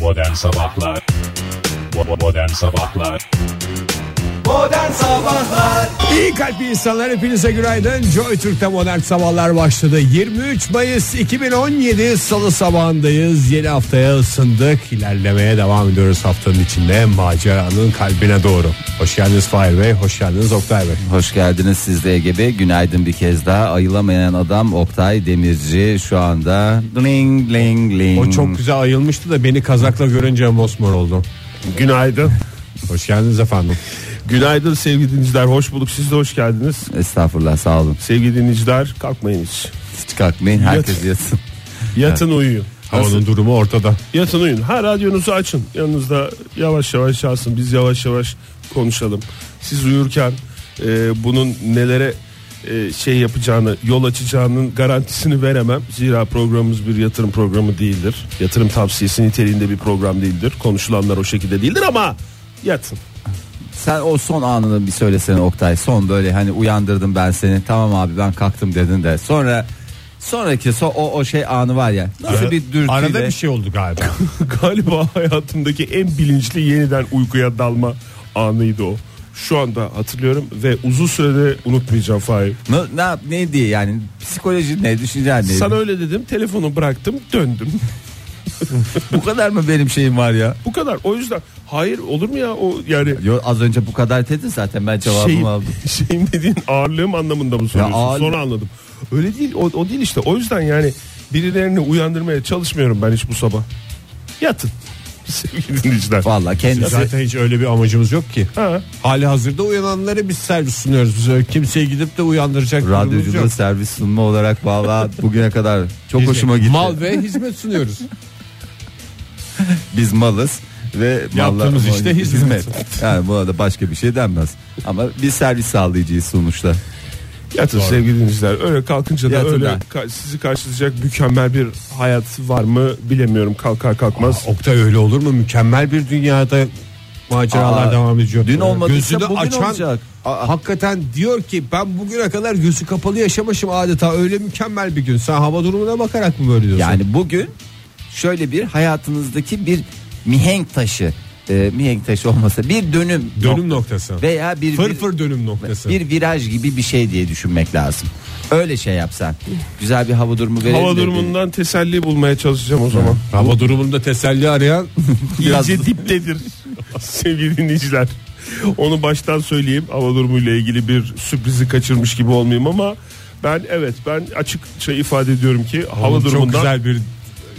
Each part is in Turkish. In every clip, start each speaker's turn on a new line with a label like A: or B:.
A: Modern Sabahlar Bo- Modern Sabahlar
B: Modern Sabahlar
C: İyi kalpli insanlar hepinize günaydın. Joy Türk'te modern sabahlar başladı. 23 Mayıs 2017 Salı sabahındayız. Yeni haftaya ısındık. İlerlemeye devam ediyoruz haftanın içinde maceranın kalbine doğru. Hoş geldiniz Fahir Bey, hoş geldiniz Oktay Bey.
D: Hoş geldiniz siz de Ege Bey. Günaydın bir kez daha. Ayılamayan adam Oktay Demirci şu anda. Ling ling ling.
C: O çok güzel ayılmıştı da beni kazakla görünce mosmor oldum.
E: Günaydın.
C: Hoş geldiniz efendim.
E: Günaydın sevgili dinleyiciler. Hoş bulduk. Siz de hoş geldiniz.
D: Estağfurullah sağ olun.
E: Sevgili dinleyiciler kalkmayın hiç.
D: Hiç kalkmayın herkes yatsın.
E: Yatın uyuyun.
C: Havanın durumu ortada.
E: Yatın uyuyun. Ha radyonuzu açın. Yanınızda yavaş yavaş çalsın. Biz yavaş yavaş konuşalım. Siz uyurken e, bunun nelere e, şey yapacağını, yol açacağının garantisini veremem. Zira programımız bir yatırım programı değildir. Yatırım tavsiyesi niteliğinde bir program değildir. Konuşulanlar o şekilde değildir ama yatın.
D: Sen o son anını bir söylesene Oktay. Son böyle hani uyandırdım ben seni. Tamam abi ben kalktım dedin de. Sonra sonraki so- o o şey anı var ya. Nasıl bir dürtüyle.
C: Arada bir şey oldu galiba.
E: Galiba hayatımdaki en bilinçli yeniden uykuya dalma anıydı o. Şu anda hatırlıyorum ve uzun sürede unutmayacağım Fahir.
D: Ne, ne, yap- ne diye yani psikoloji ne düşüncen ne?
E: Sana öyle dedim telefonu bıraktım döndüm.
D: Bu kadar mı benim şeyim var ya?
E: Bu kadar o yüzden hayır olur mu ya o yani
D: Yo, az önce bu kadar dedin zaten ben cevabımı
C: Şey-
E: şeyim,
D: aldım.
E: şeyim dediğin ağırlığım anlamında mı soruyorsun?
D: ağır-
E: Sonra anladım. Öyle değil o, o değil işte o yüzden yani birilerini uyandırmaya çalışmıyorum ben hiç bu sabah. Yatın sevgili dinleyiciler.
D: Vallahi kendisi
C: Zaten hiç öyle bir amacımız yok ki.
E: Ha.
C: Hali hazırda uyananlara biz servis sunuyoruz. Biz öyle kimseye gidip de uyandıracak durumumuz
D: Radyoculuğu
C: yok.
D: servis sunma olarak valla bugüne kadar çok
C: Hizmet.
D: hoşuma gitti.
C: Mal ve hizmet sunuyoruz.
D: Biz malız ve
C: Yaptığımız
D: malla-
C: işte hizmet.
D: Yani buna da başka bir şey denmez. Ama biz servis sağlayıcıyız sonuçta.
E: Yatın sevgili dinleyiciler. Öyle kalkınca da
D: Yatın
E: öyle
D: da.
E: ka- sizi karşılayacak mükemmel bir hayat var mı bilemiyorum kalkar kalkmaz.
C: Oktay öyle olur mu? Mükemmel bir dünyada maceralar
D: Aa,
C: devam ediyor.
D: dün olmadıysa
C: Gözünü
D: bugün
C: açan
D: olacak. Aa.
C: hakikaten diyor ki ben bugüne kadar gözü kapalı yaşamışım adeta öyle mükemmel bir gün. Sen hava durumuna bakarak mı böyle diyorsun?
D: Yani bugün şöyle bir hayatınızdaki bir mihenk taşı. e, mihenk taşı olmasa bir dönüm.
C: dönüm
D: nok-
C: noktası.
D: Veya bir,
C: Fırfır dönüm noktası.
D: bir viraj gibi bir şey diye düşünmek lazım. Öyle şey yapsan. Güzel bir hava durumu verelim.
E: Hava
D: de bir-
E: durumundan teselli bulmaya çalışacağım o zaman.
C: Hava durumunda teselli arayan
D: Biraz-
E: İyice diptedir sevgili dinleyiciler. Onu baştan söyleyeyim hava durumuyla ilgili bir sürprizi kaçırmış gibi olmayayım ama ben evet ben açıkça ifade ediyorum ki hava
C: Onun çok
E: durumundan
C: güzel bir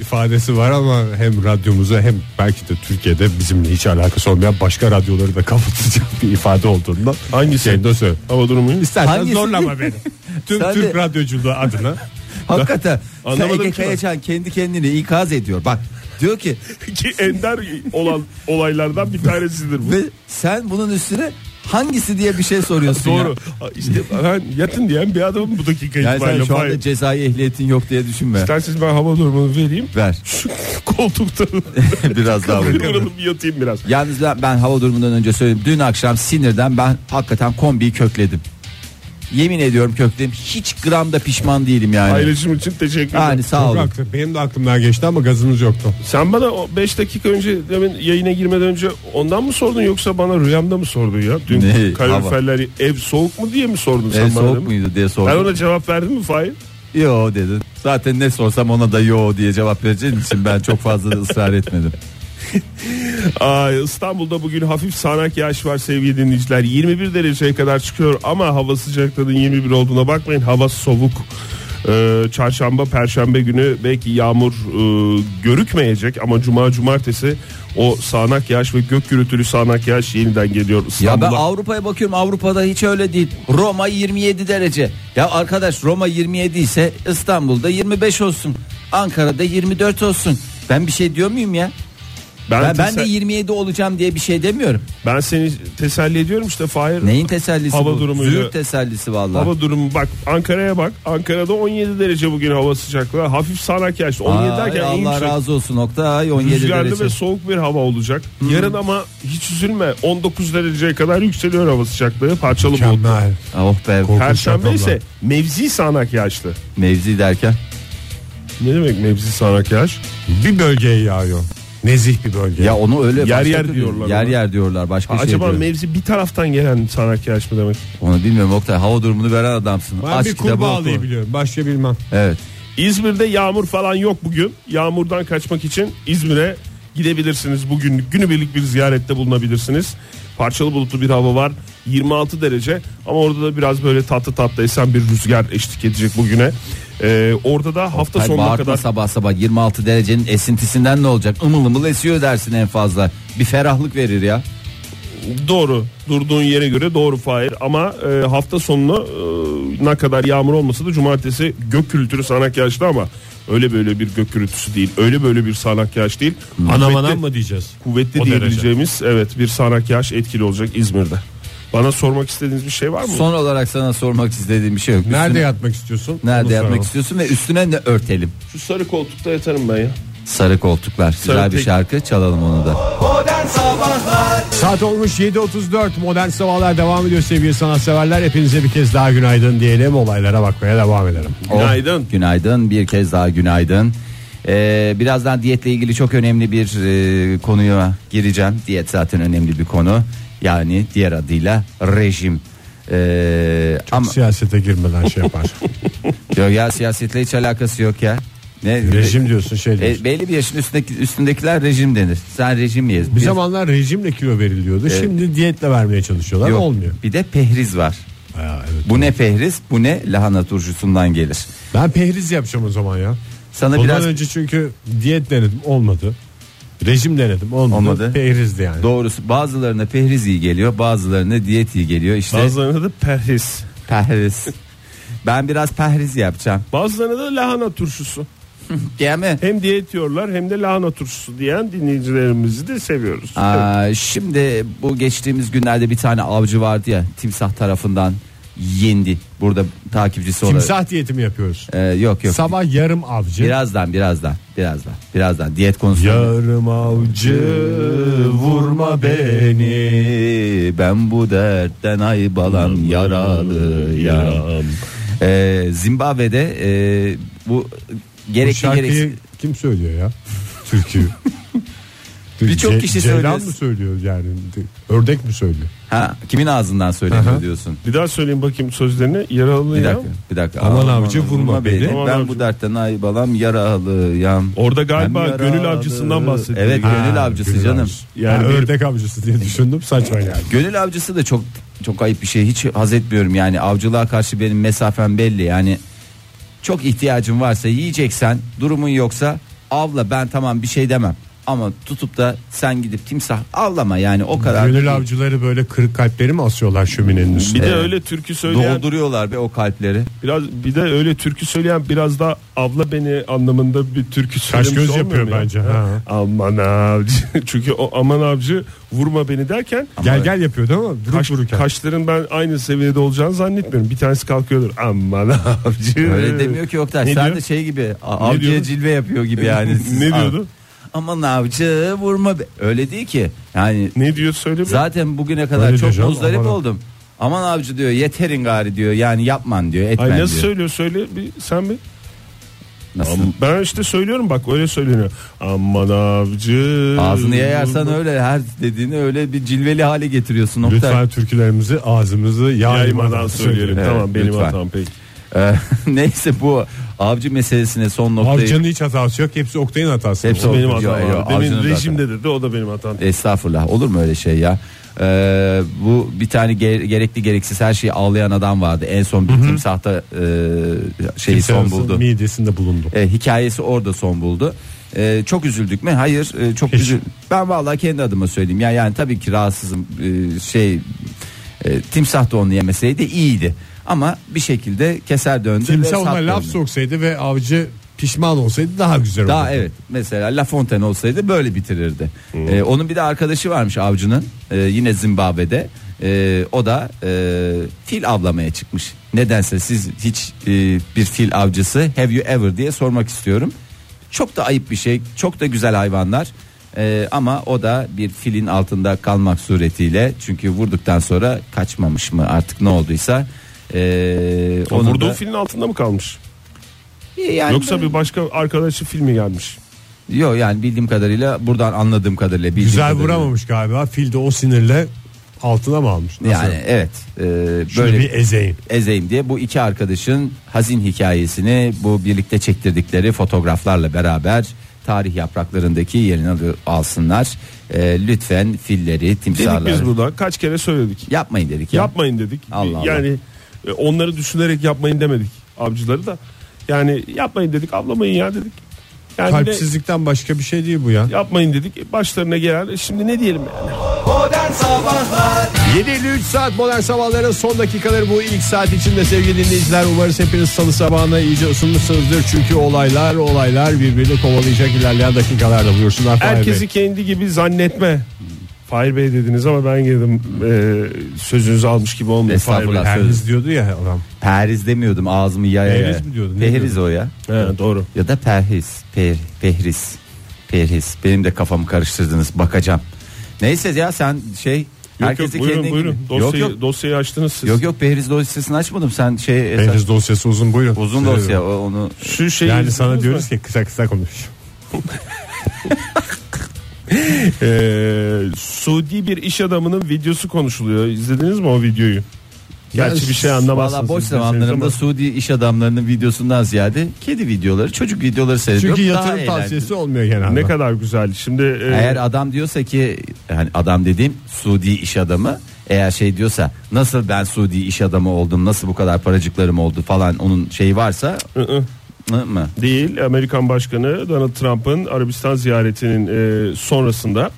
C: ifadesi var ama hem radyomuza hem belki de Türkiye'de bizimle hiç alakası olmayan başka radyoları da kapatacak bir ifade olduğunda
E: Hangisi?
C: Kendine söyle.
E: hava durumu
C: İstersen
D: Hangisi?
C: zorlama beni. Tüm
D: Sen
C: Türk
D: de-
C: radyoculuğu adına
D: Hakikaten. Sen
E: Anlamadım
D: Ege
E: ki ben.
D: Kayacan kendi kendini ikaz ediyor. Bak diyor ki
E: ki ender olan olaylardan bir tanesidir bu.
D: Ve sen bunun üstüne hangisi diye bir şey soruyorsun
E: Doğru.
D: ya.
E: İşte ben yatın diyen bir adamım bu dakika
D: Yani sen
E: itibariyle.
D: şu
E: Hayır.
D: anda cezai ehliyetin yok diye düşünme.
E: İsterseniz ben hava durumunu vereyim.
D: Ver.
E: Şu koltukta
D: Biraz daha vur.
E: kıvrılıp yatayım biraz.
D: Yalnız ben, ben hava durumundan önce söyleyeyim. Dün akşam sinirden ben hakikaten kombiyi kökledim. Yemin ediyorum kökledim. Hiç gram da pişman değilim yani.
E: Paylaşım için teşekkür ederim.
D: Yani sağ olun.
C: Bıraktı. Benim de aklımdan geçti ama gazımız yoktu.
E: Sen bana 5 dakika önce demin yayına girmeden önce ondan mı sordun yoksa bana rüyamda mı sordun ya? Dün
D: Ne?
E: kaloriferler ev soğuk mu diye mi sordun sen
D: Ee,
E: bana?
D: soğuk
E: demin?
D: muydu diye
E: Ben
D: sordum.
E: ona cevap verdim mi Fahir?
D: Yo dedin. Zaten ne sorsam ona da yo diye cevap vereceğin için ben çok fazla da ısrar etmedim.
E: Aa, İstanbul'da bugün hafif sağanak yağış var sevgili dinleyiciler. 21 dereceye kadar çıkıyor ama hava sıcaklığının 21 olduğuna bakmayın. Hava soğuk. Ee, çarşamba, perşembe günü belki yağmur e, görükmeyecek ama cuma, cumartesi o sağanak yağış ve gök gürültülü sağanak yağış yeniden geliyor
D: Ya
E: İstanbul'a.
D: ben Avrupa'ya bakıyorum Avrupa'da hiç öyle değil. Roma 27 derece. Ya arkadaş Roma 27 ise İstanbul'da 25 olsun. Ankara'da 24 olsun. Ben bir şey diyor muyum ya? Ben, ben,
E: tesel-
D: de 27 olacağım diye bir şey demiyorum.
E: Ben seni teselli ediyorum işte Fahir.
D: Neyin tesellisi
E: Hava
D: bu?
E: durumuyla-
D: Züğürt tesellisi vallahi.
E: Hava durumu bak Ankara'ya bak. Ankara'da 17 derece bugün hava sıcaklığı. Hafif sağanak yağış. 17
D: Ay,
E: derken en
D: Allah
E: yüksek.
D: razı olsun Oktay 17
E: Rüzgarlı
D: derece.
E: ve soğuk bir hava olacak. Yarın ama hiç üzülme 19 dereceye kadar yükseliyor hava sıcaklığı. Parçalı bulutlu.
C: Mükemmel.
D: Oh be
C: Korkunç
E: Perşembe
C: rakamlar.
E: ise mevzi sağanak yağışlı.
D: mevzi derken.
E: Ne demek mevzi sağanak yağış?
C: Bir bölgeye yağıyor. Nezih bir bölge.
D: Ya onu öyle
E: Yer
D: başka
E: yer
D: türlü-
E: diyorlar
D: Yer
E: ona.
D: yer diyorlar başka şey
E: Acaba
D: diyorlar.
E: mevzi bir taraftan gelen sanayi yağış mı demek?
D: Onu bilmiyorum Oktay hava durumunu veren adamsın.
C: ben
D: Aç
C: bir
D: kitabı oku.
C: kurbağa biliyorum. Başka bilmem.
D: Evet.
E: İzmir'de yağmur falan yok bugün. Yağmurdan kaçmak için İzmir'e gidebilirsiniz. Bugün günübirlik bir ziyarette bulunabilirsiniz. Parçalı bulutlu bir hava var. 26 derece ama orada da biraz böyle tatlı tatlı esen bir rüzgar eşlik edecek bugüne. Ee, orada da hafta
D: Hay
E: sonuna
D: bağırtma
E: kadar
D: sabah sabah 26 derecenin esintisinden ne olacak? Imıl ımıl esiyor dersin en fazla. Bir ferahlık verir ya.
E: doğru durduğun yere göre doğru Fahir ama e, hafta sonuna e, ne kadar yağmur olmasa da cumartesi gök gürültülü sanak yağışlı ama öyle böyle bir gök gürültüsü değil öyle böyle bir sanak yağış değil
C: Anam
E: Kuvvetli-
C: anam mı diyeceğiz?
E: kuvvetli
C: O
E: diyebileceğimiz evet bir sağanak yağış etkili olacak İzmir'de. Bana sormak istediğiniz bir şey var mı?
D: Son olarak sana sormak istediğim bir şey yok.
C: Nerede
D: Üstüne-
C: yatmak istiyorsun?
D: Nerede
C: Onu
D: yatmak
C: soralım.
D: istiyorsun ve üstüne ne örtelim?
E: Şu sarı koltukta yatarım ben ya.
D: Sarı koltuklar. Güzel bir
E: tek-
D: şarkı çalalım onu da.
B: Modern Sabahlar
C: Saat olmuş 7.34 modern sabahlar devam ediyor sevgili sanatseverler. Hepinize bir kez daha günaydın diyelim olaylara bakmaya devam edelim.
D: Oh,
E: Günaydın.
D: günaydın. Bir kez daha günaydın. Ee, birazdan diyetle ilgili çok önemli bir e, konuya gireceğim. Diyet zaten önemli bir konu. Yani diğer adıyla rejim. Ee, ama
C: Siyasete girmeden şey yapar.
D: Yok ya siyasetle hiç alakası yok ya. Ne
C: Rejim diyorsun şey diyorsun.
D: E, belli bir yaşın üstündeki üstündekiler rejim denir. Sen rejim ye.
C: Bir zamanlar rejimle kilo veriliyordu. Şimdi diyetle vermeye çalışıyorlar.
D: Yok,
C: Olmuyor.
D: Bir de pehriz var.
C: Ha, evet.
D: Bu ne pehriz? Bu ne lahana turşusundan gelir.
C: Ben pehriz yapacağım o zaman ya.
D: Sana
C: Ondan
D: biraz
C: önce çünkü diyet denedim olmadı. Rejim denedim olmadı.
D: Olmadı.
C: Pehrizdi yani.
D: doğrusu bazılarına pehriz iyi geliyor, bazılarına diyet iyi geliyor. İşte
E: Bazılarına da perhis.
D: pehriz. ben biraz pehriz yapacağım.
E: Bazılarına da lahana turşusu.
D: Değil mi?
C: E-
E: Hem diyet yiyorlar hem de lahana turşusu diyen dinleyicilerimizi de seviyoruz. Evet.
D: Aa, şimdi bu geçtiğimiz günlerde bir tane avcı vardı ya timsah tarafından yendi. Burada takipçisi olarak.
C: Timsah diyetimi yapıyoruz.
D: Ee, yok yok.
C: Sabah yarım avcı.
D: Birazdan birazdan birazdan birazdan diyet konusunda.
C: Yarım avcı vurma beni.
D: Ben bu dertten ay balam yaralı yaram. Ee, Zimbabwe'de e, bu
C: Bu
D: gerekli
C: şarkıyı
D: gereksiz
C: kim söylüyor ya? Türkü.
D: Birçok
C: Ce-
D: kişi
C: Ceylan
D: söylüyor.
C: mı söylüyor yani? Ördek mi söylüyor?
D: ha kimin ağzından
C: Aha.
D: söyleniyor diyorsun.
E: Bir daha söyleyeyim bakayım sözlerini. Yaralı
D: Bir
E: ya.
D: dakika, bir dakika.
C: Aman avcı vurma beni.
D: Ben
E: Aman avcı.
D: bu dertten ay balam yaralı yam.
E: Orada galiba
D: Hem
E: gönül
D: yaralı.
E: avcısından bahsediyor.
D: Evet,
E: Yani.
D: gönül avcısı canım.
C: Yani
E: Yani bir-
C: ördek avcısı diye düşündüm saçma yani.
D: Gönül avcısı da çok çok ayıp bir şey. Hiç haz etmiyorum yani avcılığa karşı benim mesafem belli. Yani çok ihtiyacın varsa yiyeceksen, durumun yoksa avla ben tamam bir şey demem. Ama tutup da sen gidip timsah avlama yani o kadar.
C: Gönül avcıları böyle kırık kalpleri mi asıyorlar şöminenin
E: Bir
C: üstüne?
E: de
D: Evet.
E: öyle türkü söyleyen
D: Dolduruyorlar be o kalpleri.
E: biraz bir de öyle türkü söyleyen biraz da avla beni anlamında bir türkü söylemiş
C: Kaş göz
E: olmuyor
C: yapıyor
E: mu ya?
C: bence, ha.
E: Aman avcı. Çünkü o aman avcı vurma beni derken
C: Gel gel yapıyor değil mi? Durup
E: kaş,
C: dururken.
E: kaşların ben aynı seviyede olacağını zannetmiyorum. Bir tanesi kalkıyordur. Aman avcı.
D: Öyle demiyor ki Oktay.
E: Ne
D: sen
E: diyor?
D: de şey gibi a- avcıya
E: diyordu?
D: cilve yapıyor gibi yani. Siz-
E: Ne diyordu?
D: Aman avcı vurma be. Öyle değil ki. Yani
E: Ne diyor söyle bir.
D: Zaten bugüne kadar
C: Öyle
D: çok
C: diyeceğim,
D: muzdarip
C: aman.
D: oldum. Aman avcı diyor yeterin gari diyor. Yani yapman diyor etmen
E: Ay nasıl
D: diyor.
E: söylüyor söyle bir sen bir.
D: Nasıl?
E: Ben işte söylüyorum bak öyle söyleniyor. Aman avcı.
D: Ağzını yayarsan öyle her dediğini öyle bir cilveli hale getiriyorsun. Oktay.
C: Lütfen türkülerimizi ağzımızı
E: Yaymadan
C: yaymadan
E: söyleyelim.
C: söyleyelim.
D: Evet,
E: tamam benim
D: lütfen.
E: hatam peki.
D: Ee, neyse bu avcı meselesine son noktayı.
C: Avcı'nın hiç hatası yok. Hepsi Oktay'ın hatası.
D: Hepsi
E: O da benim
D: Yok,
E: hatam.
D: yok, E, yok,
E: abi. Demin
D: avcının
E: rejimde dedi o da benim hatam.
D: Estağfurullah olur mu öyle şey ya? Ee, bu bir tane ge- gerekli gereksiz her şeyi ağlayan adam vardı. En son bir timsahta e, şeyi son
C: Kimsenin
D: buldu.
C: midesinde bulundu.
D: E, hikayesi orada son buldu. E, çok üzüldük mü? Hayır, e, çok
C: Hiç.
D: üzül. Ben vallahi kendi adıma söyleyeyim. Ya yani tabii ki rahatsızım. E, şey e, timsah da onu yemeseydi iyiydi. Ama bir şekilde keser döndü. ve
C: Kimse ona
D: sap
C: laf
D: döndü.
C: soksaydı ve avcı pişman olsaydı daha güzel olurdu.
D: Daha evet mesela La Fontaine olsaydı böyle bitirirdi. E, onun bir de arkadaşı varmış avcının. E, yine Zimbabwe'de. E, o da e, fil avlamaya çıkmış. Nedense siz hiç e, bir fil avcısı have you ever diye sormak istiyorum. Çok da ayıp bir şey. Çok da güzel hayvanlar. E, ama o da bir filin altında kalmak suretiyle çünkü vurduktan sonra kaçmamış mı artık ne olduysa e,
E: O
D: onun
E: vurduğu
D: da- Ee,
E: filmin altında mı kalmış?
D: Yani
E: Yoksa bir başka arkadaşı filmi gelmiş.
D: Yok yani bildiğim kadarıyla buradan anladığım kadarıyla bildiğim
C: Güzel
D: kadarıyla.
C: vuramamış galiba. Fil de o sinirle altına mı almış? Nasıl?
D: Yani evet. e,
C: Şunu
D: böyle
C: bir ezeyim.
D: ezeyim diye bu iki arkadaşın hazin hikayesini bu birlikte çektirdikleri fotoğraflarla beraber tarih yapraklarındaki yerini al- alsınlar. E, lütfen filleri,
E: Dedik
D: timsahları
E: biz burada kaç kere söyledik.
D: yapmayın dedik ya.
E: Yapmayın dedik.
D: Allah Allah.
E: yani e, onları düşünerek yapmayın demedik avcıları da. Yani yapmayın dedik, avlamayın ya dedik. Yani ne-
C: Kalpsizlikten başka bir şey değil bu ya.
E: yapmayın dedik. Başlarına gelen e, şimdi ne diyelim yani?
B: Modern Sabahlar
C: 7 ile 3 saat modern sabahların son dakikaları bu ilk saat içinde sevgili dinleyiciler. Umarız hepiniz salı sabahına iyice ısınmışsınızdır. Çünkü olaylar olaylar birbirini kovalayacak ilerleyen dakikalarda buyursunlar. Fahir
E: Herkesi
C: Bey.
E: kendi gibi zannetme. Fahir Bey dediniz ama ben girdim e, sözünüzü almış gibi olmadı. Fahir Bey.
D: Estağfurullah.
C: Herkes diyordu ya adam.
D: Perhiz demiyordum ağzımı yaya yaya.
C: Perhiz mi diyordun, ne
D: Perhiz
C: diyordun?
D: o ya.
E: He, doğru.
D: Ya da perhiz. Per, perhiz. Perhiz. Benim de kafamı karıştırdınız bakacağım. Neyse ya sen şey
E: Yok yok
D: herkesi
E: buyurun
D: kendine
E: buyurun.
D: gibi-
E: Dosyayı,
D: Yok yok.
E: dosyayı açtınız siz.
D: Yok yok perhiz dosyasını açmadım. Sen şey
C: Henüz dosyası uzun buyurun.
D: uzun
C: Söyle.
D: dosya o- onu
E: Şu şeyi
C: Yani
E: izlediniz
C: sana
E: mi?
C: diyoruz ki kısa kısa konuş.
E: Ee, Suudi bir iş adamının videosu konuşuluyor. İzlediniz mi o videoyu? Gerçi bir şey anlamazsınız.
D: Valla boş
E: izlerseniz
D: zamanlarımda
E: ama.
D: Suudi iş adamlarının videosundan ziyade kedi videoları, çocuk videoları seyrediyorum.
C: Çünkü
D: Daha
C: yatırım
D: eğlenceli.
C: tavsiyesi olmuyor genelde.
E: ne kadar güzel. Şimdi e,
D: Eğer adam diyorsa ki yani adam dediğim Suudi iş adamı eğer şey diyorsa nasıl ben Suudi iş adamı oldum nasıl bu kadar paracıklarım oldu falan onun şeyi varsa
E: ı.
D: mı mı?
E: değil Amerikan Başkanı Donald Trump'ın Arabistan ziyaretinin e, sonrasında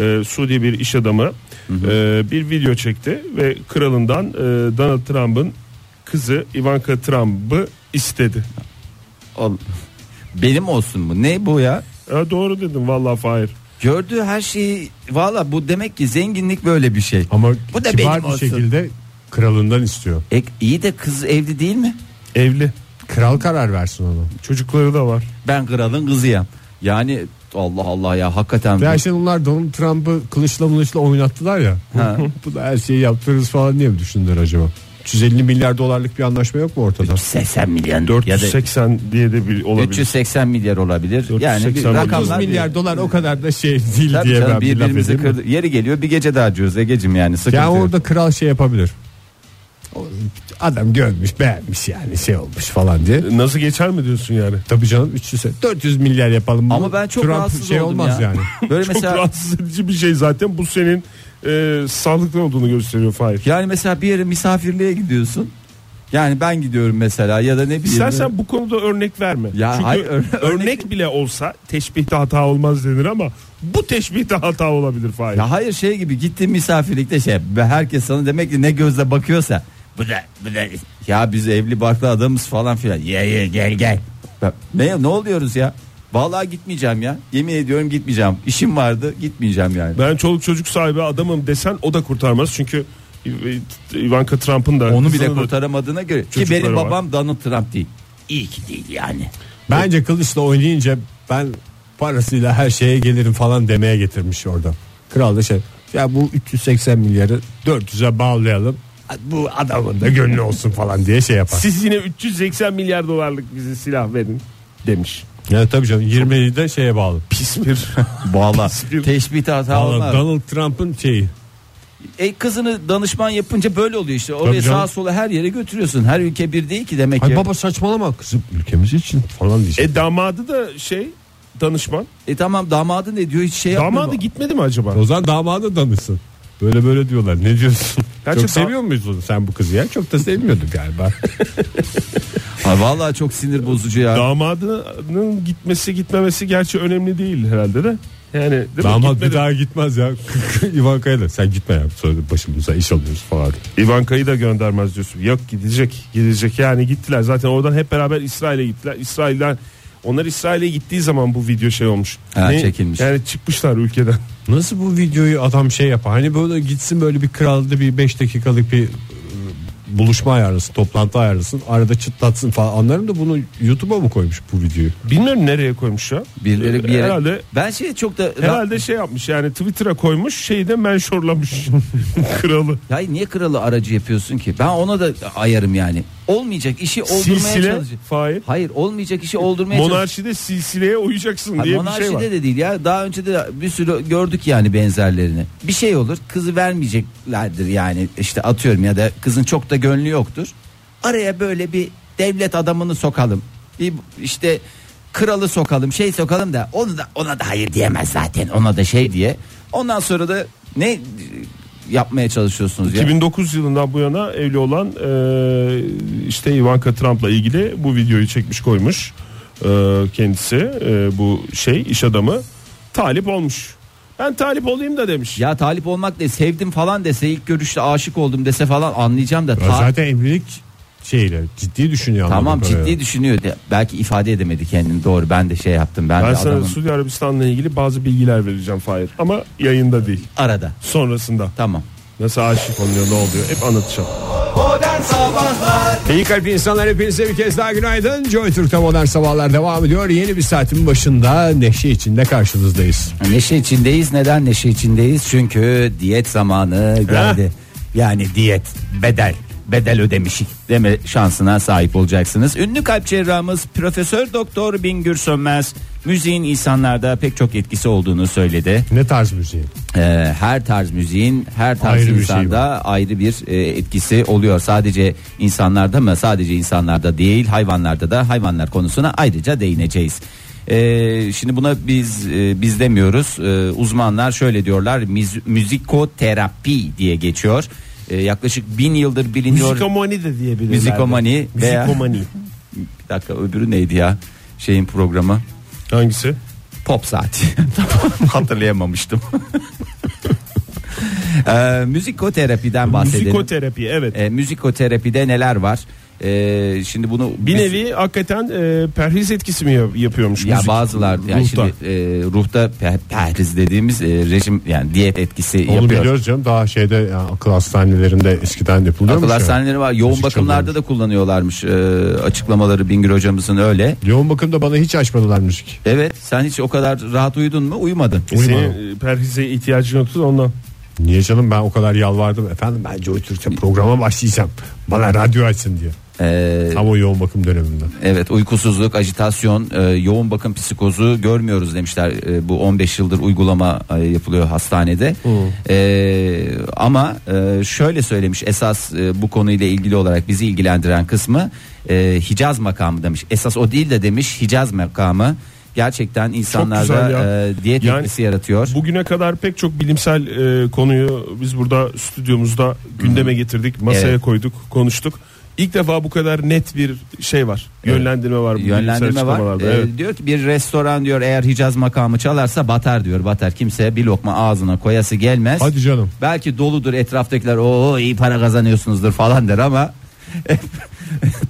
E: e, Suudi bir iş adamı e, bir video çekti ve kralından e, Donald Trump'ın kızı Ivanka Trump'ı istedi.
D: Ol- Benim olsun mu? Ne bu ya?
E: E, doğru dedim vallahi Fahir.
D: Gördüğü her şeyi valla bu demek ki zenginlik böyle bir şey.
C: Ama
D: Bu da
C: kibar
D: benim
C: bir
D: olsun.
C: şekilde kralından istiyor.
D: E, iyi de kız evli değil mi?
E: Evli.
C: Kral karar versin ona.
E: Çocukları da var.
D: Ben kralın kızıyım. Yani Allah Allah ya hakikaten.
C: Ve her şey onlar Donald Trump'ı kılıçla mılıçla oynattılar ya.
D: Ha.
C: Bu da her şeyi yaptırırız falan diye mi düşündüler acaba? 350 milyar dolarlarlık bir anlaşma yok mu ortada?
D: 80 milyon ya da
E: 480 diye de bir olabilir.
D: 380 milyar olabilir. Yani bir
E: 480
D: rakamlar
C: 30 milyar dolar o kadar da şey değil
D: Tabii
C: diye
D: canım,
C: ben bir laf
D: birbirimizi
C: edeyim mi?
D: kırdı. Yeri geliyor bir gece daha diyoruz Ege'cim yani sıkıntı.
C: Ya
D: yok.
C: orada kral şey yapabilir. O Adam görmüş beğenmiş yani şey olmuş falan diye.
E: Nasıl geçer mi diyorsun yani?
C: Tabii canım 300 400 milyar yapalım.
D: Ama
C: bunu.
D: ben çok
C: Trump
D: rahatsız
C: şey
D: oldum
C: olmaz
D: ya.
C: yani.
D: Böyle
E: Çok
D: mesela
E: rahatsız edici bir şey zaten. Bu senin e, sağlıklı olduğunu gösteriyor Fahir.
D: yani mesela bir yere misafirliğe gidiyorsun. Yani ben gidiyorum mesela ya da ne bileyim.
E: İstersen bu konuda örnek verme.
D: Ya
E: Çünkü
D: hayır, ör-
E: örnek, bile olsa teşbihte hata olmaz denir ama bu teşbihte hata olabilir Fahir.
D: Ya hayır şey gibi gittin misafirlikte şey ve herkes sana demek ki ne gözle bakıyorsa bu da bu da ya biz evli barklı adamız falan filan. Ye ye gel gel. Ya Ne ne oluyoruz ya? Vallahi gitmeyeceğim ya. Yemin ediyorum gitmeyeceğim. İşim vardı, gitmeyeceğim yani.
E: Ben çoluk çocuk sahibi adamım desen o da kurtarmaz. Çünkü Ivanka Trump'ın da
D: Onu
E: kızını
D: bile
E: da-
D: kurtaramadığına göre ki
E: Çocukları
D: benim
E: var.
D: babam Donald Trump değil. İyi ki değil yani.
C: Bence kılıçla oynayınca ben parasıyla her şeye gelirim falan demeye getirmiş orada. Kral da şey ya bu 380 milyarı 400'e bağlayalım. Bu adamın da gönlü olsun falan diye şey yapar.
E: Siz yine 380 milyar dolarlık bize silah verin demiş.
C: Ya tabii canım 20'yi de şeye bağlı.
E: Pis bir
D: Valla
E: bir-
D: teşbih hata
C: Vallahi
D: olmaz.
C: Donald Trump'ın şeyi.
D: E kızını danışman yapınca böyle oluyor işte.
C: Tabii
D: Oraya
C: canım.
D: sağa sola her yere götürüyorsun. Her ülke bir değil ki demek
C: Ay
D: ki.
C: baba saçmalama kızım ülkemiz için falan diyecek.
E: E damadı da şey danışman.
D: E tamam damadı ne diyor hiç şey yapmıyor
E: Damadı
D: mu?
E: gitmedi mi acaba?
C: o zaman damadı danışsın. Böyle böyle diyorlar. Ne diyorsun?
E: Gerçi
C: Çok
E: da-
C: seviyor muyuz onu sen bu kızı ya? Çok da sevmiyorduk galiba.
D: Ay vallahi çok sinir bozucu ya.
E: Damadının gitmesi gitmemesi gerçi önemli değil herhalde de. Yani değil mi?
C: Damat bir
E: Gitmedi.
C: daha gitmez ya. Ivanka'ya da sen gitme ya. Sonra başımıza iş alıyoruz falan.
E: Ivanka'yı da göndermez diyorsun. Yok gidecek gidecek yani gittiler zaten oradan hep beraber İsrail'e gittiler. İsrail'den onlar İsrail'e gittiği zaman bu video şey olmuş.
D: Ha, çekilmiş.
E: Yani çıkmışlar ülkeden.
C: Nasıl bu videoyu adam şey yapar? Hani böyle gitsin böyle bir kralda bir 5 dakikalık bir e, buluşma ayarlasın, toplantı ayarlasın. Arada çıtlatsın falan. Anlarım da bunu YouTube'a mı koymuş bu videoyu?
E: Bilmiyorum nereye koymuş ya.
D: Birileri bir yere.
E: Herhalde
D: Ben şey çok da
E: herhalde şey yapmış yani Twitter'a koymuş şeyi de menşorlamış kralı.
D: Ya niye kralı aracı yapıyorsun ki? Ben ona da ayarım yani. olmayacak işi oldurmaya
E: Silsile
D: çalışacak.
E: Fahir.
D: Hayır olmayacak işi oldurmaya çalışacak.
E: Monarşide silsileye uyacaksın
D: Ha,
E: diye bir
D: monarşide
E: şey var.
D: de değil ya. Daha önce de bir sürü gördük yani benzerlerini. Bir şey olur kızı vermeyeceklerdir yani işte atıyorum ya da kızın çok da gönlü yoktur. Araya böyle bir devlet adamını sokalım. Bir işte kralı sokalım şey sokalım da onu da ona da hayır diyemez zaten ona da şey diye. Ondan sonra da ne yapmaya çalışıyorsunuz ya?
E: 2009 yılından bu yana evli olan e, işte Ivanka Trump'la ilgili bu videoyu çekmiş koymuş E, kendisi e, bu şey iş adamı talip olmuş. Ben talip olayım da demiş.
D: Ya talip olmak değil sevdim falan dese ilk görüşte aşık oldum dese falan anlayacağım da.
C: Ya
D: ta-
C: Zaten evlilik şeyle ciddi düşünüyor.
D: Tamam
C: anladığım kadarıyla.
D: ciddi düşünüyor. De- Belki ifade edemedi kendini. Doğru ben de şey yaptım. Ben,
E: ben
D: de
E: sana
D: adamın
E: Suudi Arabistan'la ilgili bazı bilgiler vereceğim Fahir ama yayında değil
D: arada.
E: sonrasında.
D: Tamam.
E: Nasıl aşık oluyor ne oluyor hep anlatacağım.
B: Modern Sabahlar
C: İyi kalp insanlar hepinize bir kez daha günaydın. Joy Türk'te modern sabahlar devam ediyor. Yeni bir saatin başında neşe içinde karşınızdayız.
D: Neşe içindeyiz. Neden neşe içindeyiz? Çünkü diyet zamanı geldi. Yani diyet bedel bedel ödemişik deme şansına sahip olacaksınız. Ünlü kalp cerrahımız Profesör Doktor Bingür Sönmez müziğin insanlarda pek çok etkisi olduğunu söyledi.
C: Ne tarz müziği?
D: Ee, her tarz müziğin her tarz
C: Ayrı bir şey
D: insanda ayrı bir e, etkisi oluyor. Sadece insanlarda mı? Sadece insanlarda değil, hayvanlarda da hayvanlar konusuna ayrıca değineceğiz. Ee, şimdi buna biz e, biz demiyoruz. Ee, uzmanlar şöyle diyorlar. Müz- müzikoterapi diye geçiyor. Ee, yaklaşık bin yıldır biliniyor.
E: Müzikomani de diyebilirler.
D: Müzikomani veya-
E: Müzikomani.
D: Bir dakika öbürü neydi ya? Şeyin programı.
E: Hangisi?
D: Pop saati. Hatırlayamamıştım. ee, müzikoterapiden bahsedelim.
E: Müzikoterapi evet.
D: Ee, müzikoterapide neler var? Ee, şimdi bunu
E: Bir
D: biz-
E: nevi hakikaten e, perhiz etkisi mi yap- yapıyormuş
D: ya
E: müzik?
D: bazılar yani
E: Ruhta.
D: şimdi e, ruhta pe- perhiz dediğimiz e, rejim yani diyet etkisi
C: Onu
D: yapıyor.
C: biliyoruz canım daha şeyde yani akıl hastanelerinde eskiden yapılıyor.
D: Akıl hastaneleri var. Yoğun
C: Müzik
D: bakımlarda da kullanıyorlarmış. Ee, açıklamaları Bingür hocamızın öyle.
C: Yoğun bakımda bana hiç açmadılar müzik.
D: Evet, sen hiç o kadar rahat uyudun mu? Uyumadın.
E: Senin e, perhize ihtiyacın yoktu da ondan.
C: Niye canım ben o kadar yalvardım efendim ben Joy Türk'te programa başlayacağım. Bana radyo açsın diye.
D: Ee,
C: Tam o yoğun bakım döneminde.
D: Evet uykusuzluk, ajitasyon, e, yoğun bakım psikozu görmüyoruz demişler. E, bu 15 yıldır uygulama e, yapılıyor hastanede. E, ama e, şöyle söylemiş esas e, bu konuyla ilgili olarak bizi ilgilendiren kısmı e, Hicaz makamı demiş. Esas o değil de demiş Hicaz makamı gerçekten insanlarda
E: ya.
D: e, diyet
E: Yani
D: etkisi yaratıyor.
E: Bugüne kadar pek çok bilimsel e, konuyu biz burada stüdyomuzda gündeme getirdik, masaya
D: Evet.
E: koyduk, konuştuk. İlk defa bu kadar net bir şey var. Yönlendirme var. bu bilimsel
D: yönlendirme var.
E: açıklamalarda,
D: Ee,
E: evet.
D: diyor ki bir restoran diyor eğer Hicaz makamı çalarsa batar diyor. Batar kimse bir lokma ağzına koyası gelmez.
C: Hadi canım.
D: Belki doludur etraftakiler o iyi para kazanıyorsunuzdur falan der ama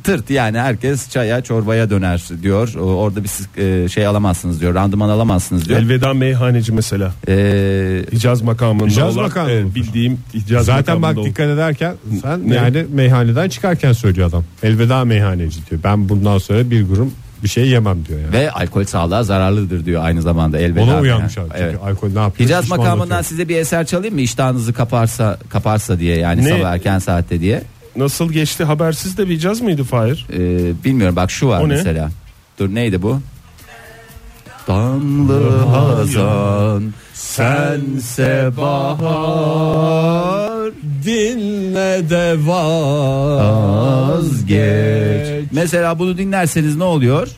D: tırt yani herkes çaya çorbaya döner diyor. O- Orada bir siz, e, şey alamazsınız diyor. Randıman alamazsınız diyor.
E: Elveda meyhaneci mesela.
D: Ee,
E: Hicaz makamında
C: Hicaz
E: olan,
C: makamı.
E: e, bildiğim Hicaz
C: Zaten bak
E: makamında olan.
C: dikkat ederken sen
E: Ne?
C: yani meyhaneden çıkarken söylüyor adam. Elveda meyhaneci diyor. Ben bundan sonra bir grup bir şey yemem diyor yani.
D: ve alkol sağlığa zararlıdır diyor aynı zamanda elbette.
C: Ona uyanmış
D: Yani,
C: abi.
D: Evet.
C: Çünkü alkol ne yapıyor?
D: Hicaz makamından
C: Şişmanlatıyor.
D: size bir eser çalayım mı? İştahınızı kaparsa kaparsa diye yani
E: Ne?
D: sabah erken saatte diye.
E: Nasıl geçti habersiz de bir Hicaz mıydı Fahir?
D: Ee, bilmiyorum bak şu var
E: O ne?
D: mesela. Dur neydi bu? Damlı hazan sense bahar
C: dinle de vazgeç.
D: Mesela bunu dinlerseniz ne oluyor?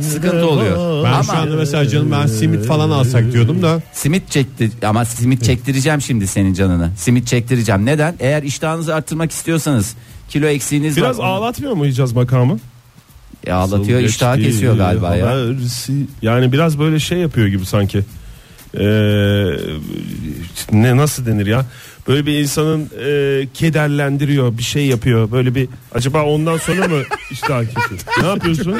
D: Sıkıntı oluyor.
C: Ben şu
D: ama
C: anda mesela canım ben simit falan alsak diyordum da
D: simit çekti ama simit çektireceğim şimdi senin canını. Simit çektireceğim. Neden? Eğer iştahınızı arttırmak istiyorsanız kilo
C: E,
D: eksiğiniz
E: Biraz
D: var.
E: ağlatmıyor mu Hicaz makamı?
D: E, ağlatıyor,
E: Nasıl
D: iştahı
E: geçti
D: kesiyor galiba ya.
E: habersi- Yani biraz böyle şey yapıyor gibi sanki. Ee, ne nasıl denir ya? Böyle bir insanın e, kederlendiriyor, bir şey yapıyor. Böyle bir acaba ondan sonra mı iştah kesiyor? ne yapıyorsun?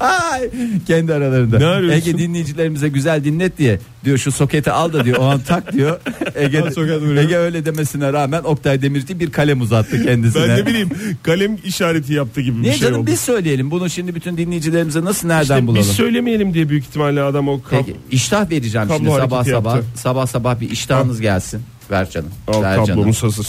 D: Ay, kendi aralarında.
E: Ne arıyorsun?
D: Ege dinleyicilerimize güzel dinlet diye diyor şu soketi al da diyor o an tak diyor. Ege, Ege öyle demesine rağmen Oktay Demirci bir kalem uzattı kendisine.
E: Ben ne bileyim kalem işareti yaptı gibi
D: Niye
E: bir şey
D: canım
E: oldu.
D: biz söyleyelim bunu şimdi bütün dinleyicilerimize nasıl nereden
E: İşte
D: bulalım?
E: biz söylemeyelim diye büyük ihtimalle adam o kap,
D: Peki, iştah vereceğim
E: Kablo
D: şimdi sabah
E: hareketi
D: sabah
E: yaptı.
D: sabah sabah bir iştahınız gelsin. Ver canım.
E: Al,
D: ver canım.
E: kablomuz hazır.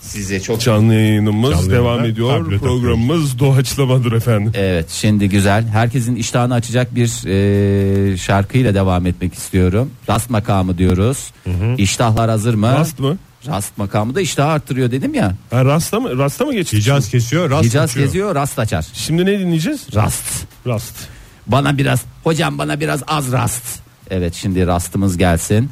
F: Size çok
E: Canlı yayınımız
C: Canlı
E: devam
C: yayında
E: ediyor.
C: tablet
E: Programımız doğaçlamadır efendim.
D: Evet şimdi güzel. Herkesin iştahını açacak bir e, şarkıyla devam etmek istiyorum. Rast makamı diyoruz. İştahlar hazır mı?
E: Rast mı?
D: Rast makamı da iştahı arttırıyor dedim ya.
E: Ha, rasta mı? Rasta mı geçtik?
C: Hicaz kesiyor, rast
D: Hicaz
C: açıyor.
D: geziyor rast açar.
E: Şimdi ne dinleyeceğiz?
D: Rast.
E: Rast.
D: Bana biraz hocam bana biraz az rast. Evet şimdi rastımız gelsin.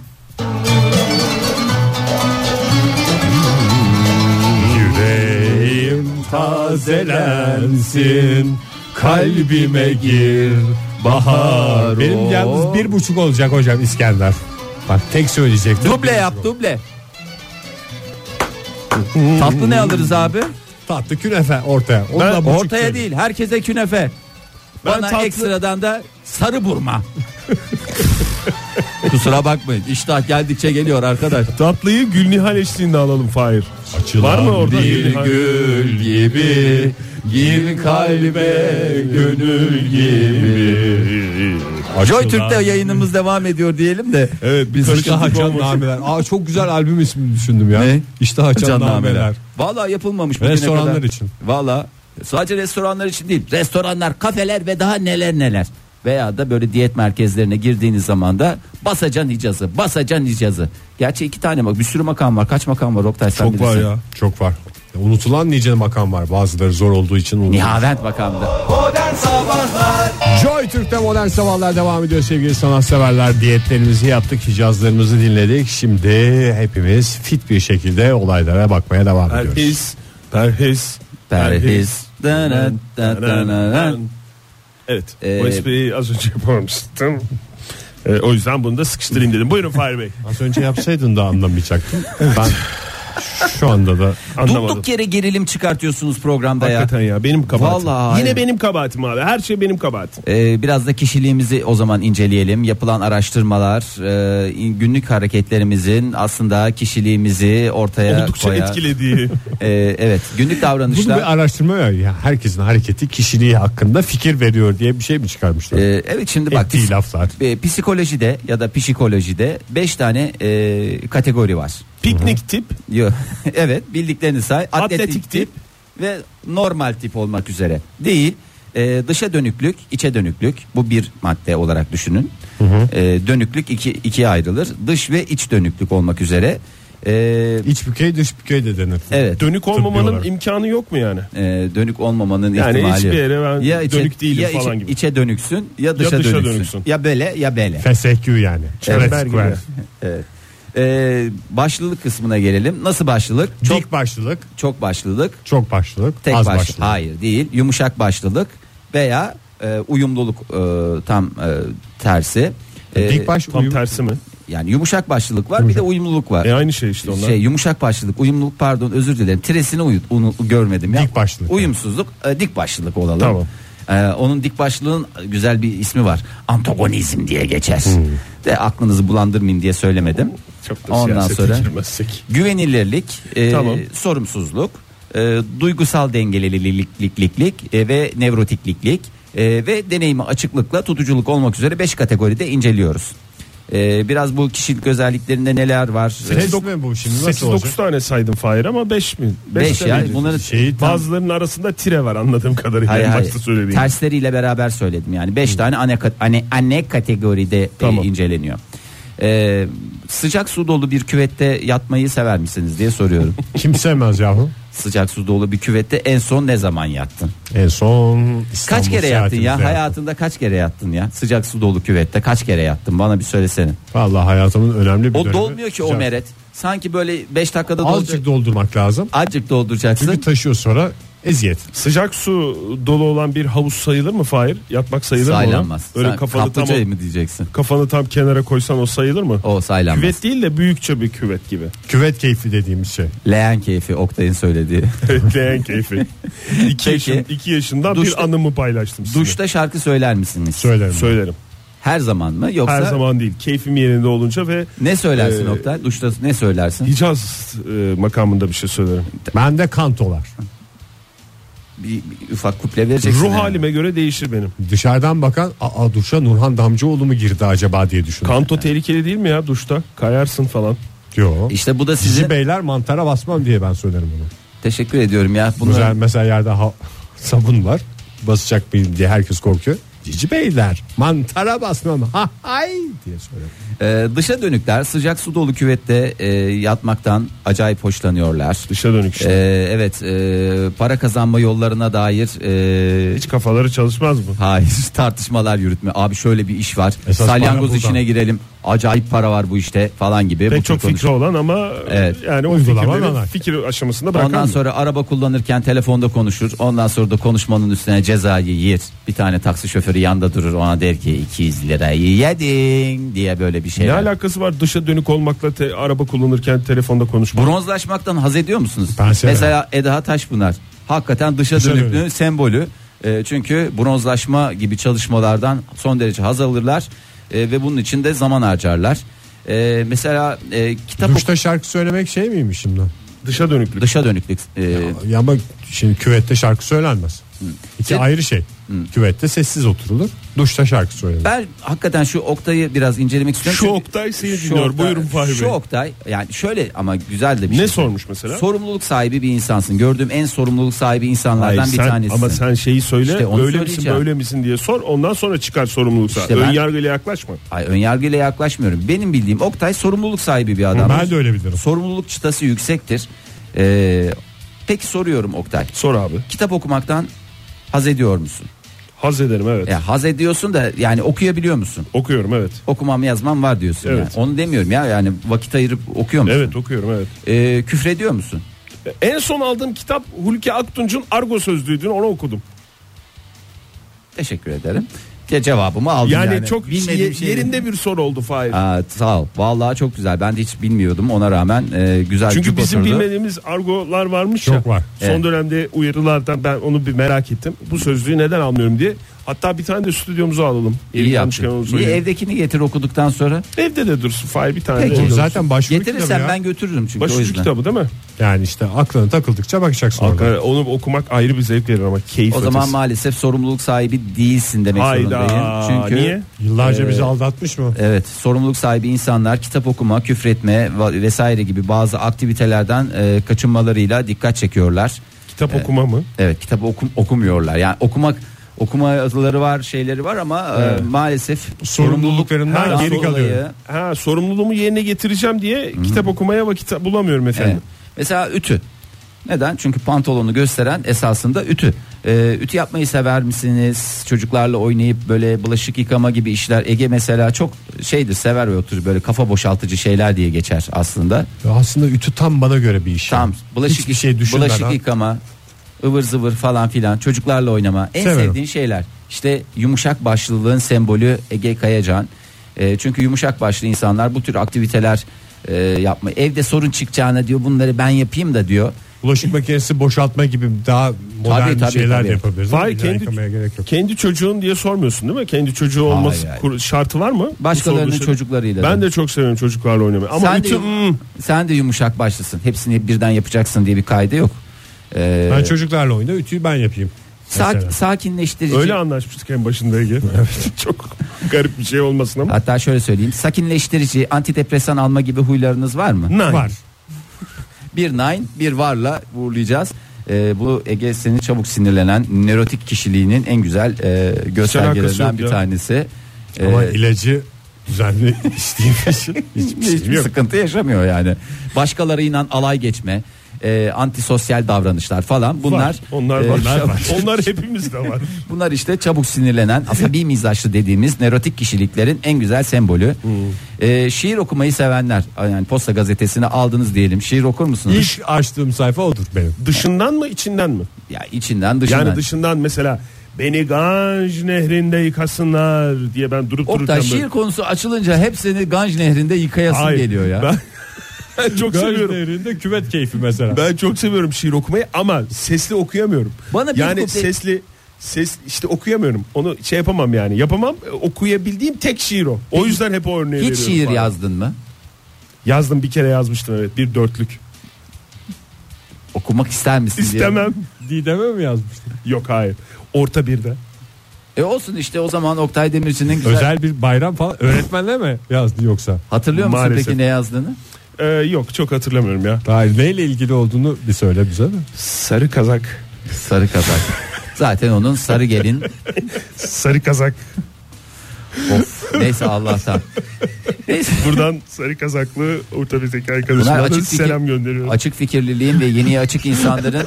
E: Yüreğim tazelensin kalbime gir bahar.
C: Benim yalnız bir buçuk olacak hocam İskender. Bak tek söyleyecektim.
D: Duble yap duble. Tatlı ne alırız abi?
C: Tatlı künefe ortaya. Ondan
E: Ben
C: buçuk
D: Ortaya
C: diyorum.
D: değil herkese künefe.
E: Ben
D: Bana
E: tatlı-
D: ekstradan da sarı burma. Kusura bakmayın iştah geldikçe geliyor arkadaş.
E: Tatlıyı Gülnihal eşliğinde alalım Fahir.
C: Açılan
E: Var mı orada
C: bir
E: Gülnihal?
D: Gül gibi gir kalbe
E: Gönül gibi.
D: Joy Türk'te yayınımız devam ediyor diyelim de.
E: Evet biz
C: İştah açan nameler. Aa çok güzel albüm ismini düşündüm ya.
D: Ne?
C: İştah açan nameler.
D: Valla yapılmamış bugüne
C: Restoranlar
D: kadar.
C: için.
D: Valla sadece restoranlar için değil. Restoranlar, kafeler ve daha neler neler. Veya da böyle diyet merkezlerine girdiğiniz zaman da basacan Hicaz'ı, basacan Hicaz'ı. Gerçi iki tane bak bir sürü makam var. Kaç makam var Oktay sen
C: Çok var
D: bilirsin.
C: ya. Çok var. Ya, Unutulan nice makam var. Bazıları zor olduğu için unutulmuş.
D: Nihavent makamda.
B: Modern Sabahlar
C: Joy Türk'te modern sabahlar devam ediyor sevgili sanatseverler. Diyetlerimizi yaptık, hicazlarımızı dinledik. Şimdi hepimiz fit bir şekilde olaylara bakmaya devam ediyoruz.
E: Perhis, perhis,
D: Perhiz.
E: Evet.
D: Ee,
E: o espriyi az önce yapamamıştım. Ee, o yüzden bunu da sıkıştırayım dedim. Buyurun Fahir Bey.
C: Az önce yapsaydın da anlamayacaktım. Ben şu anda da
E: Anlamadım.
D: Durduk yere gerilim çıkartıyorsunuz programda ya.
E: Hakikaten ya benim kabahatim.
D: Vallahi
E: Yine
D: aynen.
E: benim kabahatim abi. Her şey benim kabahatim.
D: Ee, biraz da kişiliğimizi o zaman inceleyelim. Yapılan araştırmalar e, in- günlük hareketlerimizin aslında kişiliğimizi ortaya
E: Oldukça
D: koyan-
E: etkilediği.
D: Ee, evet günlük
C: Bunu
D: davranışlar.
C: bir araştırma ya. ya. Herkesin hareketi kişiliği hakkında fikir veriyor diye bir şey mi çıkarmışlar?
D: Ee, evet şimdi bak
C: Ettiği
D: pis-
C: laflar.
D: e, psikolojide ya da psikolojide 5 tane e, kategori var.
E: Piknik tip.
D: Yo, evet bildiklerini say. Atletik,
E: Atletik
D: tip ve normal tip olmak üzere. Değil. e, dışa dönüklük, içe dönüklük. Bu bir madde olarak düşünün. E, dönüklük iki, ikiye ayrılır. Dış ve iç dönüklük olmak üzere. E,
C: İç bükey dış bükey de denir.
D: evet.
E: Dönük
C: Tıbbi
E: olmamanın
C: olarak.
E: imkanı yok mu yani?
D: e, dönük olmamanın
E: Yani
D: ihtimali.
E: hiçbir
D: yok.
E: yere ben
D: içe-
E: dönük değilim
D: ya
E: falan
D: içe-
E: gibi.
D: içe dönüksün ya dışa,
E: dışa
D: dönüksün.
E: dönüksün.
D: Ya böyle ya böyle.
C: FSQ yani.
E: Çember
C: Çember
E: gibi.
C: square.
D: Evet. E, başlılık kısmına gelelim. Nasıl başlılık? Çok
C: Dik başlılık,
D: çok başlılık.
C: çok başlılık,
D: Tek
C: az
D: baş-
C: başlılık.
D: Hayır değil. Yumuşak başlılık veya e, uyumluluk e, tam e, tersi. E,
C: Dik baş
E: Tam
C: uyum-
E: tersi mi?
D: yani yumuşak başlılık var bir de uyumluluk var.
E: E aynı şey işte onlar.
D: Şey yumuşak başlılık, uyumluluk pardon özür dilerim. Tresini uyu- unu- görmedim ya.
C: Dik başlılık.
D: Uyumsuzluk, e, dik başlılık olalım.
E: Tamam.
D: E, onun dik başlılığın güzel bir ismi var. Antagonizm diye geçer. De aklınızı bulandırmayayım diye söylemedim.
E: Çok da
D: Ondan
E: siyasete
D: sonra
E: girmezsek.
D: güvenilirlik, e,
E: Tamam.
D: sorumsuzluk, e, duygusal dengelililiklik e, ve nevrotikliklik e, ve deneyimi açıklıkla tutuculuk olmak üzere 5 kategoride inceliyoruz. E, biraz bu kişilik özelliklerinde neler var?
C: Test mi bu şimdi nasıl
E: 8-9
C: olacak?
E: tane saydım Fahir ama 5 mi?
D: 5
E: tane
D: ya.
E: değil.
D: Bunların
C: Şeyi tam-
E: Bazılarının arasında tire var anladığım kadarıyla.
D: Hayır,
E: en
D: hayır.
E: başta söylediğim.
D: Tersleriyle beraber söyledim yani. Beş tane ana, kat- ane, anne kategoride e,
E: Tamam.
D: inceleniyor. E, sıcak su dolu bir küvette yatmayı sever misiniz diye soruyorum.
C: Kim sevmez yahu?
D: sıcak su dolu bir küvette en son ne zaman yattın?
C: En son İstanbul
D: Kaç kere yattın ya?
C: seyahatimizde yattım.
D: Hayatında kaç kere yattın ya? Sıcak su dolu küvette kaç kere yattın? Bana bir söylesene.
C: Vallahi hayatımın önemli bir
D: O
C: dönemi.
D: dolmuyor ki o
C: Sıcak.
D: meret. Sanki böyle 5 dakikada
C: Azıcık
D: dolacak.
C: doldurmak lazım.
D: Azıcık
C: Çünkü
D: dolduracaksın.
C: taşıyor sonra eziyet.
E: Sıcak su dolu olan bir havuz sayılır mı Fahir? Yatmak sayılır mı?
D: Saylanmaz.
E: ona? Öyle
D: Sen
E: kafanı tam,
D: kaplıcayı mı diyeceksin?
E: kafanı tam kenara koysan o sayılır mı?
D: O saylanmaz.
E: Küvet değil de büyükçe bir küvet gibi.
C: Küvet keyfi dediğimiz şey.
D: Leğen keyfi Oktay'ın söylediği.
E: Bekleyen keyfi. 2
D: Peki.
E: yaşın, iki yaşından
D: Duşta-
E: bir anımı paylaştım size.
D: Duşta şarkı söyler misiniz?
C: Söylerim. ben.
E: Söylerim.
D: Her zaman mı yoksa?
E: Her zaman değil. Keyfim yerinde olunca ve
D: Ne söylersin
E: Ee,
D: Oktay? Duşta ne söylersin?
E: Hicaz e, makamında bir şey söylerim.
C: Ben de kantolar.
D: Bir, bir ufak kuple vereceksin.
E: Ruh
D: herhalde.
E: halime göre değişir benim.
C: Dışarıdan bakan aa duşa Nurhan Damcıoğlu mu girdi acaba diye düşündüm.
E: Kanto tehlikeli değil mi ya duşta? Kayarsın falan.
C: Yok.
D: İşte bu da
C: Sizi
D: sizin
C: beyler mantara basmam diye ben söylerim bunu.
D: teşekkür ediyorum ya. Bunlar
C: Özel mesela yerde ha- sabun var. Basacak mıyım diye herkes korkuyor. Cici beyler mantara basmam ha hay diye söylüyor.
D: Ee, dışa dönükler sıcak su dolu küvette e, yatmaktan acayip hoşlanıyorlar.
E: Dışa dönük işte.
D: Ee, evet e, para kazanma yollarına dair e,
E: Hiç kafaları çalışmaz mı?
D: hayır tartışmalar yürütme. Abi şöyle bir iş var.
C: Esas para
D: Salyangoz
C: buradan.
D: içine girelim. Acayip para var bu işte falan gibi. Bu
E: Pek
D: tür
E: çok fikri
D: konuş-
E: olan ama
D: Evet.
E: yani o
C: Uygulama
E: fikirleri
C: var.
E: fikir aşamasında bırakan
D: Ondan
E: mı?
D: sonra araba kullanırken telefonda konuşur. Ondan sonra da konuşmanın üstüne cezayı yer. Bir tane taksi şoförü yanda durur ona der ki 200 lirayı yedin diye böyle bir şey.
E: Ne alakası var dışa dönük olmakla te- araba kullanırken telefonda konuşmak?
D: Bronzlaşmaktan haz ediyor musunuz?
C: Ben severim.
D: Mesela Eda Taşpınar hakikaten dışa
C: Dışa
D: dönüklüğün
C: dönük.
D: sembolü. E, çünkü bronzlaşma gibi çalışmalardan son derece haz alırlar E, ve bunun için de zaman harcarlar. E, mesela e, kitap oku-
C: Duşta şarkı söylemek şey miymiş şimdi?
E: Dışa dönüklük.
D: dışa dönüklük e,
C: Ya bak şimdi küvette şarkı söylenmez. İki
D: Sen-
C: ayrı şey. Küvette sessiz oturulur. Duşta şarkı söylenir.
D: Ben hakikaten şu Oktay'ı biraz incelemek istiyorum.
E: Şu
D: Çünkü-
E: Oktay seni
D: Şu
E: dinliyor.
D: Oktay-
E: Buyurun Fahri
D: Şu
E: Bey.
D: Oktay yani şöyle ama güzel de bir şey.
E: Ne sormuş mesela?
D: Sorumluluk sahibi bir insansın. Gördüğüm en sorumluluk sahibi insanlardan
E: Hayır,
D: bir
E: sen-
D: tanesisin.
E: Ama sen şeyi söyle
D: İşte onu
E: böyle misin
D: söyleyeceğim.
E: böyle misin diye sor ondan sonra çıkar sorumluluk sahibi.
D: İşte ben-
E: Önyargıyla yaklaşma.
D: Ay önyargıyla yaklaşmıyorum. Benim bildiğim Oktay sorumluluk sahibi bir adam.
C: Ben de öyle bilirim.
D: Sorumluluk çıtası yüksektir. Ee, peki soruyorum Oktay.
E: Sor abi.
D: Kitap okumaktan haz ediyor musun?
E: Haz ederim evet.
D: Ya haz ediyorsun da yani okuyabiliyor musun?
E: Okuyorum evet.
D: Okumam yazmam var diyorsun.
E: Evet.
D: yani. Onu demiyorum ya yani vakit ayırıp okuyor musun?
E: Evet okuyorum evet.
D: Ee, küfrediyor musun?
E: En son aldığım kitap Hulki Aktunç'un Argo Sözlüğü'ydü onu okudum.
D: Teşekkür ederim. Ya cevabımı aldım yani.
E: Yani, çok
D: Bilmediğim
E: ye-
D: şey-
E: yerinde bir soru oldu Fahir.
D: Aa, sağ ol. Vallahi çok güzel. Ben de hiç bilmiyordum ona rağmen e, güzel
E: Çünkü
D: cuk
E: bizim
D: oturdu.
E: bilmediğimiz argolar varmış
C: Çok
E: ya.
C: var.
E: Son
D: Evet.
E: dönemde uyarılardan ben onu bir merak ettim. Bu sözlüğü neden almıyorum diye. Hatta bir tane de stüdyomuza alalım.
D: İyi
E: Yeri
D: yaptın.
E: konuşken onu
D: Niye
E: söyleyeyim.
D: evdekini getir okuduktan sonra?
E: Evde de dursun Fahir bir tane.
D: Peki.
E: de.
C: Oğlum zaten başvuru kitabı
D: Getirirsen
C: ya.
D: ben götürürüm çünkü o
E: Başucu
D: yüzden.
E: kitabı değil mi?
C: Yani işte aklına takıldıkça bakacaksın orada.
E: Hakikaten Onu okumak ayrı bir zevk verir ama keyif
D: O zaman
E: ötesi.
D: maalesef sorumluluk sahibi değilsin demek
E: Hayda.
D: zorundayım. Çünkü
E: Niye?
C: Yıllarca bizi aldatmış mı?
D: Evet, sorumluluk sahibi insanlar kitap okuma, küfretme va- vesaire gibi bazı aktivitelerden e, kaçınmalarıyla dikkat çekiyorlar.
E: Kitap
D: E-
E: okuma mı?
D: Evet, kitap okum okumuyorlar. Yani okumak okumaları var, şeyleri var ama e, maalesef
C: Sorumluluklarından
D: sorumluluk-
C: geri kalıyor.
D: olayı-
E: Ha sorumluluğumu yerine getireceğim diye kitap okumaya vakit bulamıyorum
D: Evet.
E: efendim.
D: Mesela ütü. Neden? Çünkü pantolonu gösteren esasında ütü. Ee, ütü yapmayı sever misiniz? Çocuklarla oynayıp böyle bulaşık yıkama gibi işler. Ege mesela çok şeydir sever ve oturur böyle kafa boşaltıcı şeyler diye geçer aslında.
C: Ya Aslında ütü tam bana göre bir iş.
D: Tam
C: yani.
D: bulaşık,
C: Hiçbir şey düşünmeden.
D: bulaşık yıkama, ıvır zıvır falan filan çocuklarla oynama. En
C: Severim.
D: sevdiğin şeyler. İşte yumuşak başlılığın sembolü Ege Kayacan. Ee, çünkü yumuşak başlı insanlar bu tür aktiviteler e, yapma. Evde sorun çıkacağına diyor bunları ben yapayım da diyor.
C: Bulaşık makinesi boşaltma gibi daha modern
D: Tabii, tabii,
C: şeyler
D: tabii.
C: de yapabiliriz.
E: Fahir
C: İlla
E: kendi,
C: yıkamaya gerek yok.
E: kendi çocuğun diye sormuyorsun değil mi? Kendi çocuğu olması
D: hayır.
E: kur- şartı var mı? Bu
D: Başkalarının
E: sorduğu şey-
D: çocuklarıyla.
E: Ben de çok seviyorum çocuklarla oynamayı. Ama
D: sen, de,
E: bütün
D: yum- sen de yumuşak başlısın. Hepsini birden yapacaksın diye bir kaydı yok. Ee,
C: Ben çocuklarla oyna ütüyü ben yapayım.
D: sak-
C: Mesela.
D: sakinleştirici.
E: öyle anlaşmıştık en başında Ege. çok garip bir şey olmasın ama.
D: Hatta şöyle söyleyeyim. Sakinleştirici, antidepresan alma gibi huylarınız var mı?
E: Nine.
C: Var.
D: Bir nine bir varla uğurlayacağız. Ee, bu Ege seni çabuk sinirlenen nörotik kişiliğinin en güzel e,
E: alakası yok
D: göstergelerinden bir
E: ya.
D: tanesi. Ee,
C: Ama ilacı düzenli içtiğim için hiçbir şeyim
D: hiçbir
C: yok.
D: sıkıntı yaşamıyor yani. Başkalarıyla alay geçme, e, antisosyal davranışlar falan bunlar.
E: Var. Onlar
D: e,
E: var. Onlar hepimizde var.
D: Bunlar işte çabuk sinirlenen asabi mizaçlı dediğimiz nörotik kişiliklerin en güzel sembolü.
E: Hmm.
D: Ee, şiir okumayı sevenler yani posta gazetesini aldınız diyelim şiir okur musunuz?
C: İlk açtığım sayfa odur benim.
E: Dışından mı içinden mi?
D: Ya içinden dışından.
E: Yani dışından mesela beni Ganj nehrinde yıkasınlar diye ben durup dururken
D: Oktay
E: böyle-
D: şiir konusu açılınca hepsini Ganj nehrinde yıkayasın
E: Hayır,
D: geliyor ya.
E: Ben, ben çok seviyorum.
C: Değerinde küvet keyfi mesela.
E: Ben çok seviyorum şiir okumayı ama sesli okuyamıyorum.
D: Bana bir
E: yani
D: kuple-
E: sesli ses işte okuyamıyorum. Onu şey yapamam yani. Yapamam. E, Okuyabildiğim tek şiir o. O yüzden hep o örneği
D: Hiç
E: veriyorum
D: şiir
E: bana.
D: yazdın mı?
E: Yazdım bir kere yazmıştım evet. Bir dörtlük.
D: Okumak ister misin diye.
E: İstemem.
C: Didem'e mi yazmıştın?
E: Yok hayır. Orta birde.
D: E olsun işte o zaman Oktay Demirci'nin güzel.
C: Özel bir bayram falan öğretmenle mi yazdın yoksa?
D: Hatırlıyor musun
E: Maalesef.
D: peki ne yazdığını?
E: Ee, Ee, yok çok hatırlamıyorum ya.
C: Hayır neyle ilgili olduğunu bir söyle bize de.
E: Sarı kazak.
D: Sarı kazak. Zaten onun sarı gelin.
E: Sarı kazak.
D: Of. Neyse Allah'tan. Neyse.
E: Buradan sarı kazaklı orta bizdeki arkadaşlara
D: Bunlar
E: da
D: açık fikir-
E: selam gönderiyorum.
D: Açık fikirliliğin ve yeniye açık insanların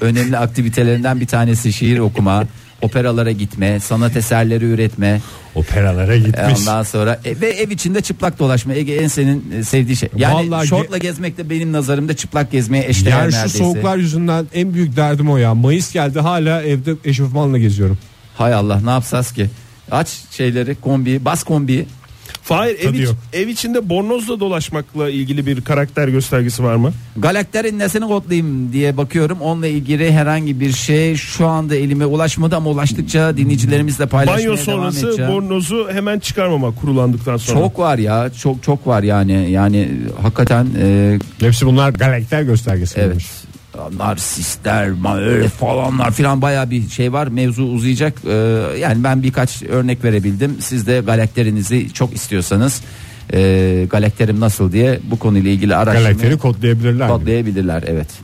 D: önemli aktivitelerinden bir tanesi şiir okuma, operalara gitme, sanat eserleri üretme,
C: Operalara gitmiş.
D: e, ondan sonra e, ve ev içinde çıplak dolaşma. Ege en senin e, sevdiği şey. Yani
C: Vallahi ge-
D: şortla gezmek de benim nazarımda çıplak gezmeye eşdeğer
C: yani şu
D: neredeyse.
C: soğuklar yüzünden en büyük derdim o ya. Mayıs geldi hala evde eşofmanla geziyorum.
D: Hay Allah ne yapsas ki? Aç şeyleri kombiyi bas kombiyi.
E: Fahir ev,
C: Tadı
E: iç-
C: yok.
E: ev içinde bornozla dolaşmakla ilgili bir karakter göstergesi var mı?
D: Galakterin nesini kodlayayım diye bakıyorum. Onunla ilgili herhangi bir şey şu anda elime ulaşmadı ama ulaştıkça dinleyicilerimizle paylaşmaya
E: Banyo
D: devam
E: sonrası
D: edeceğim.
E: bornozu hemen çıkarmamak kurulandıktan sonra.
D: Çok var ya çok çok var yani yani hakikaten e,
C: Hepsi bunlar galakter göstergesi
D: evet
C: olmuş.
D: narsistler ma- öyle falanlar filan baya bir şey var mevzu uzayacak E, yani ben birkaç örnek verebildim siz de galakterinizi çok istiyorsanız e, galakterim nasıl diye bu konuyla ilgili araştırmayı
C: Galakteri kodlayabilirler. mi?
D: kodlayabilirler evet.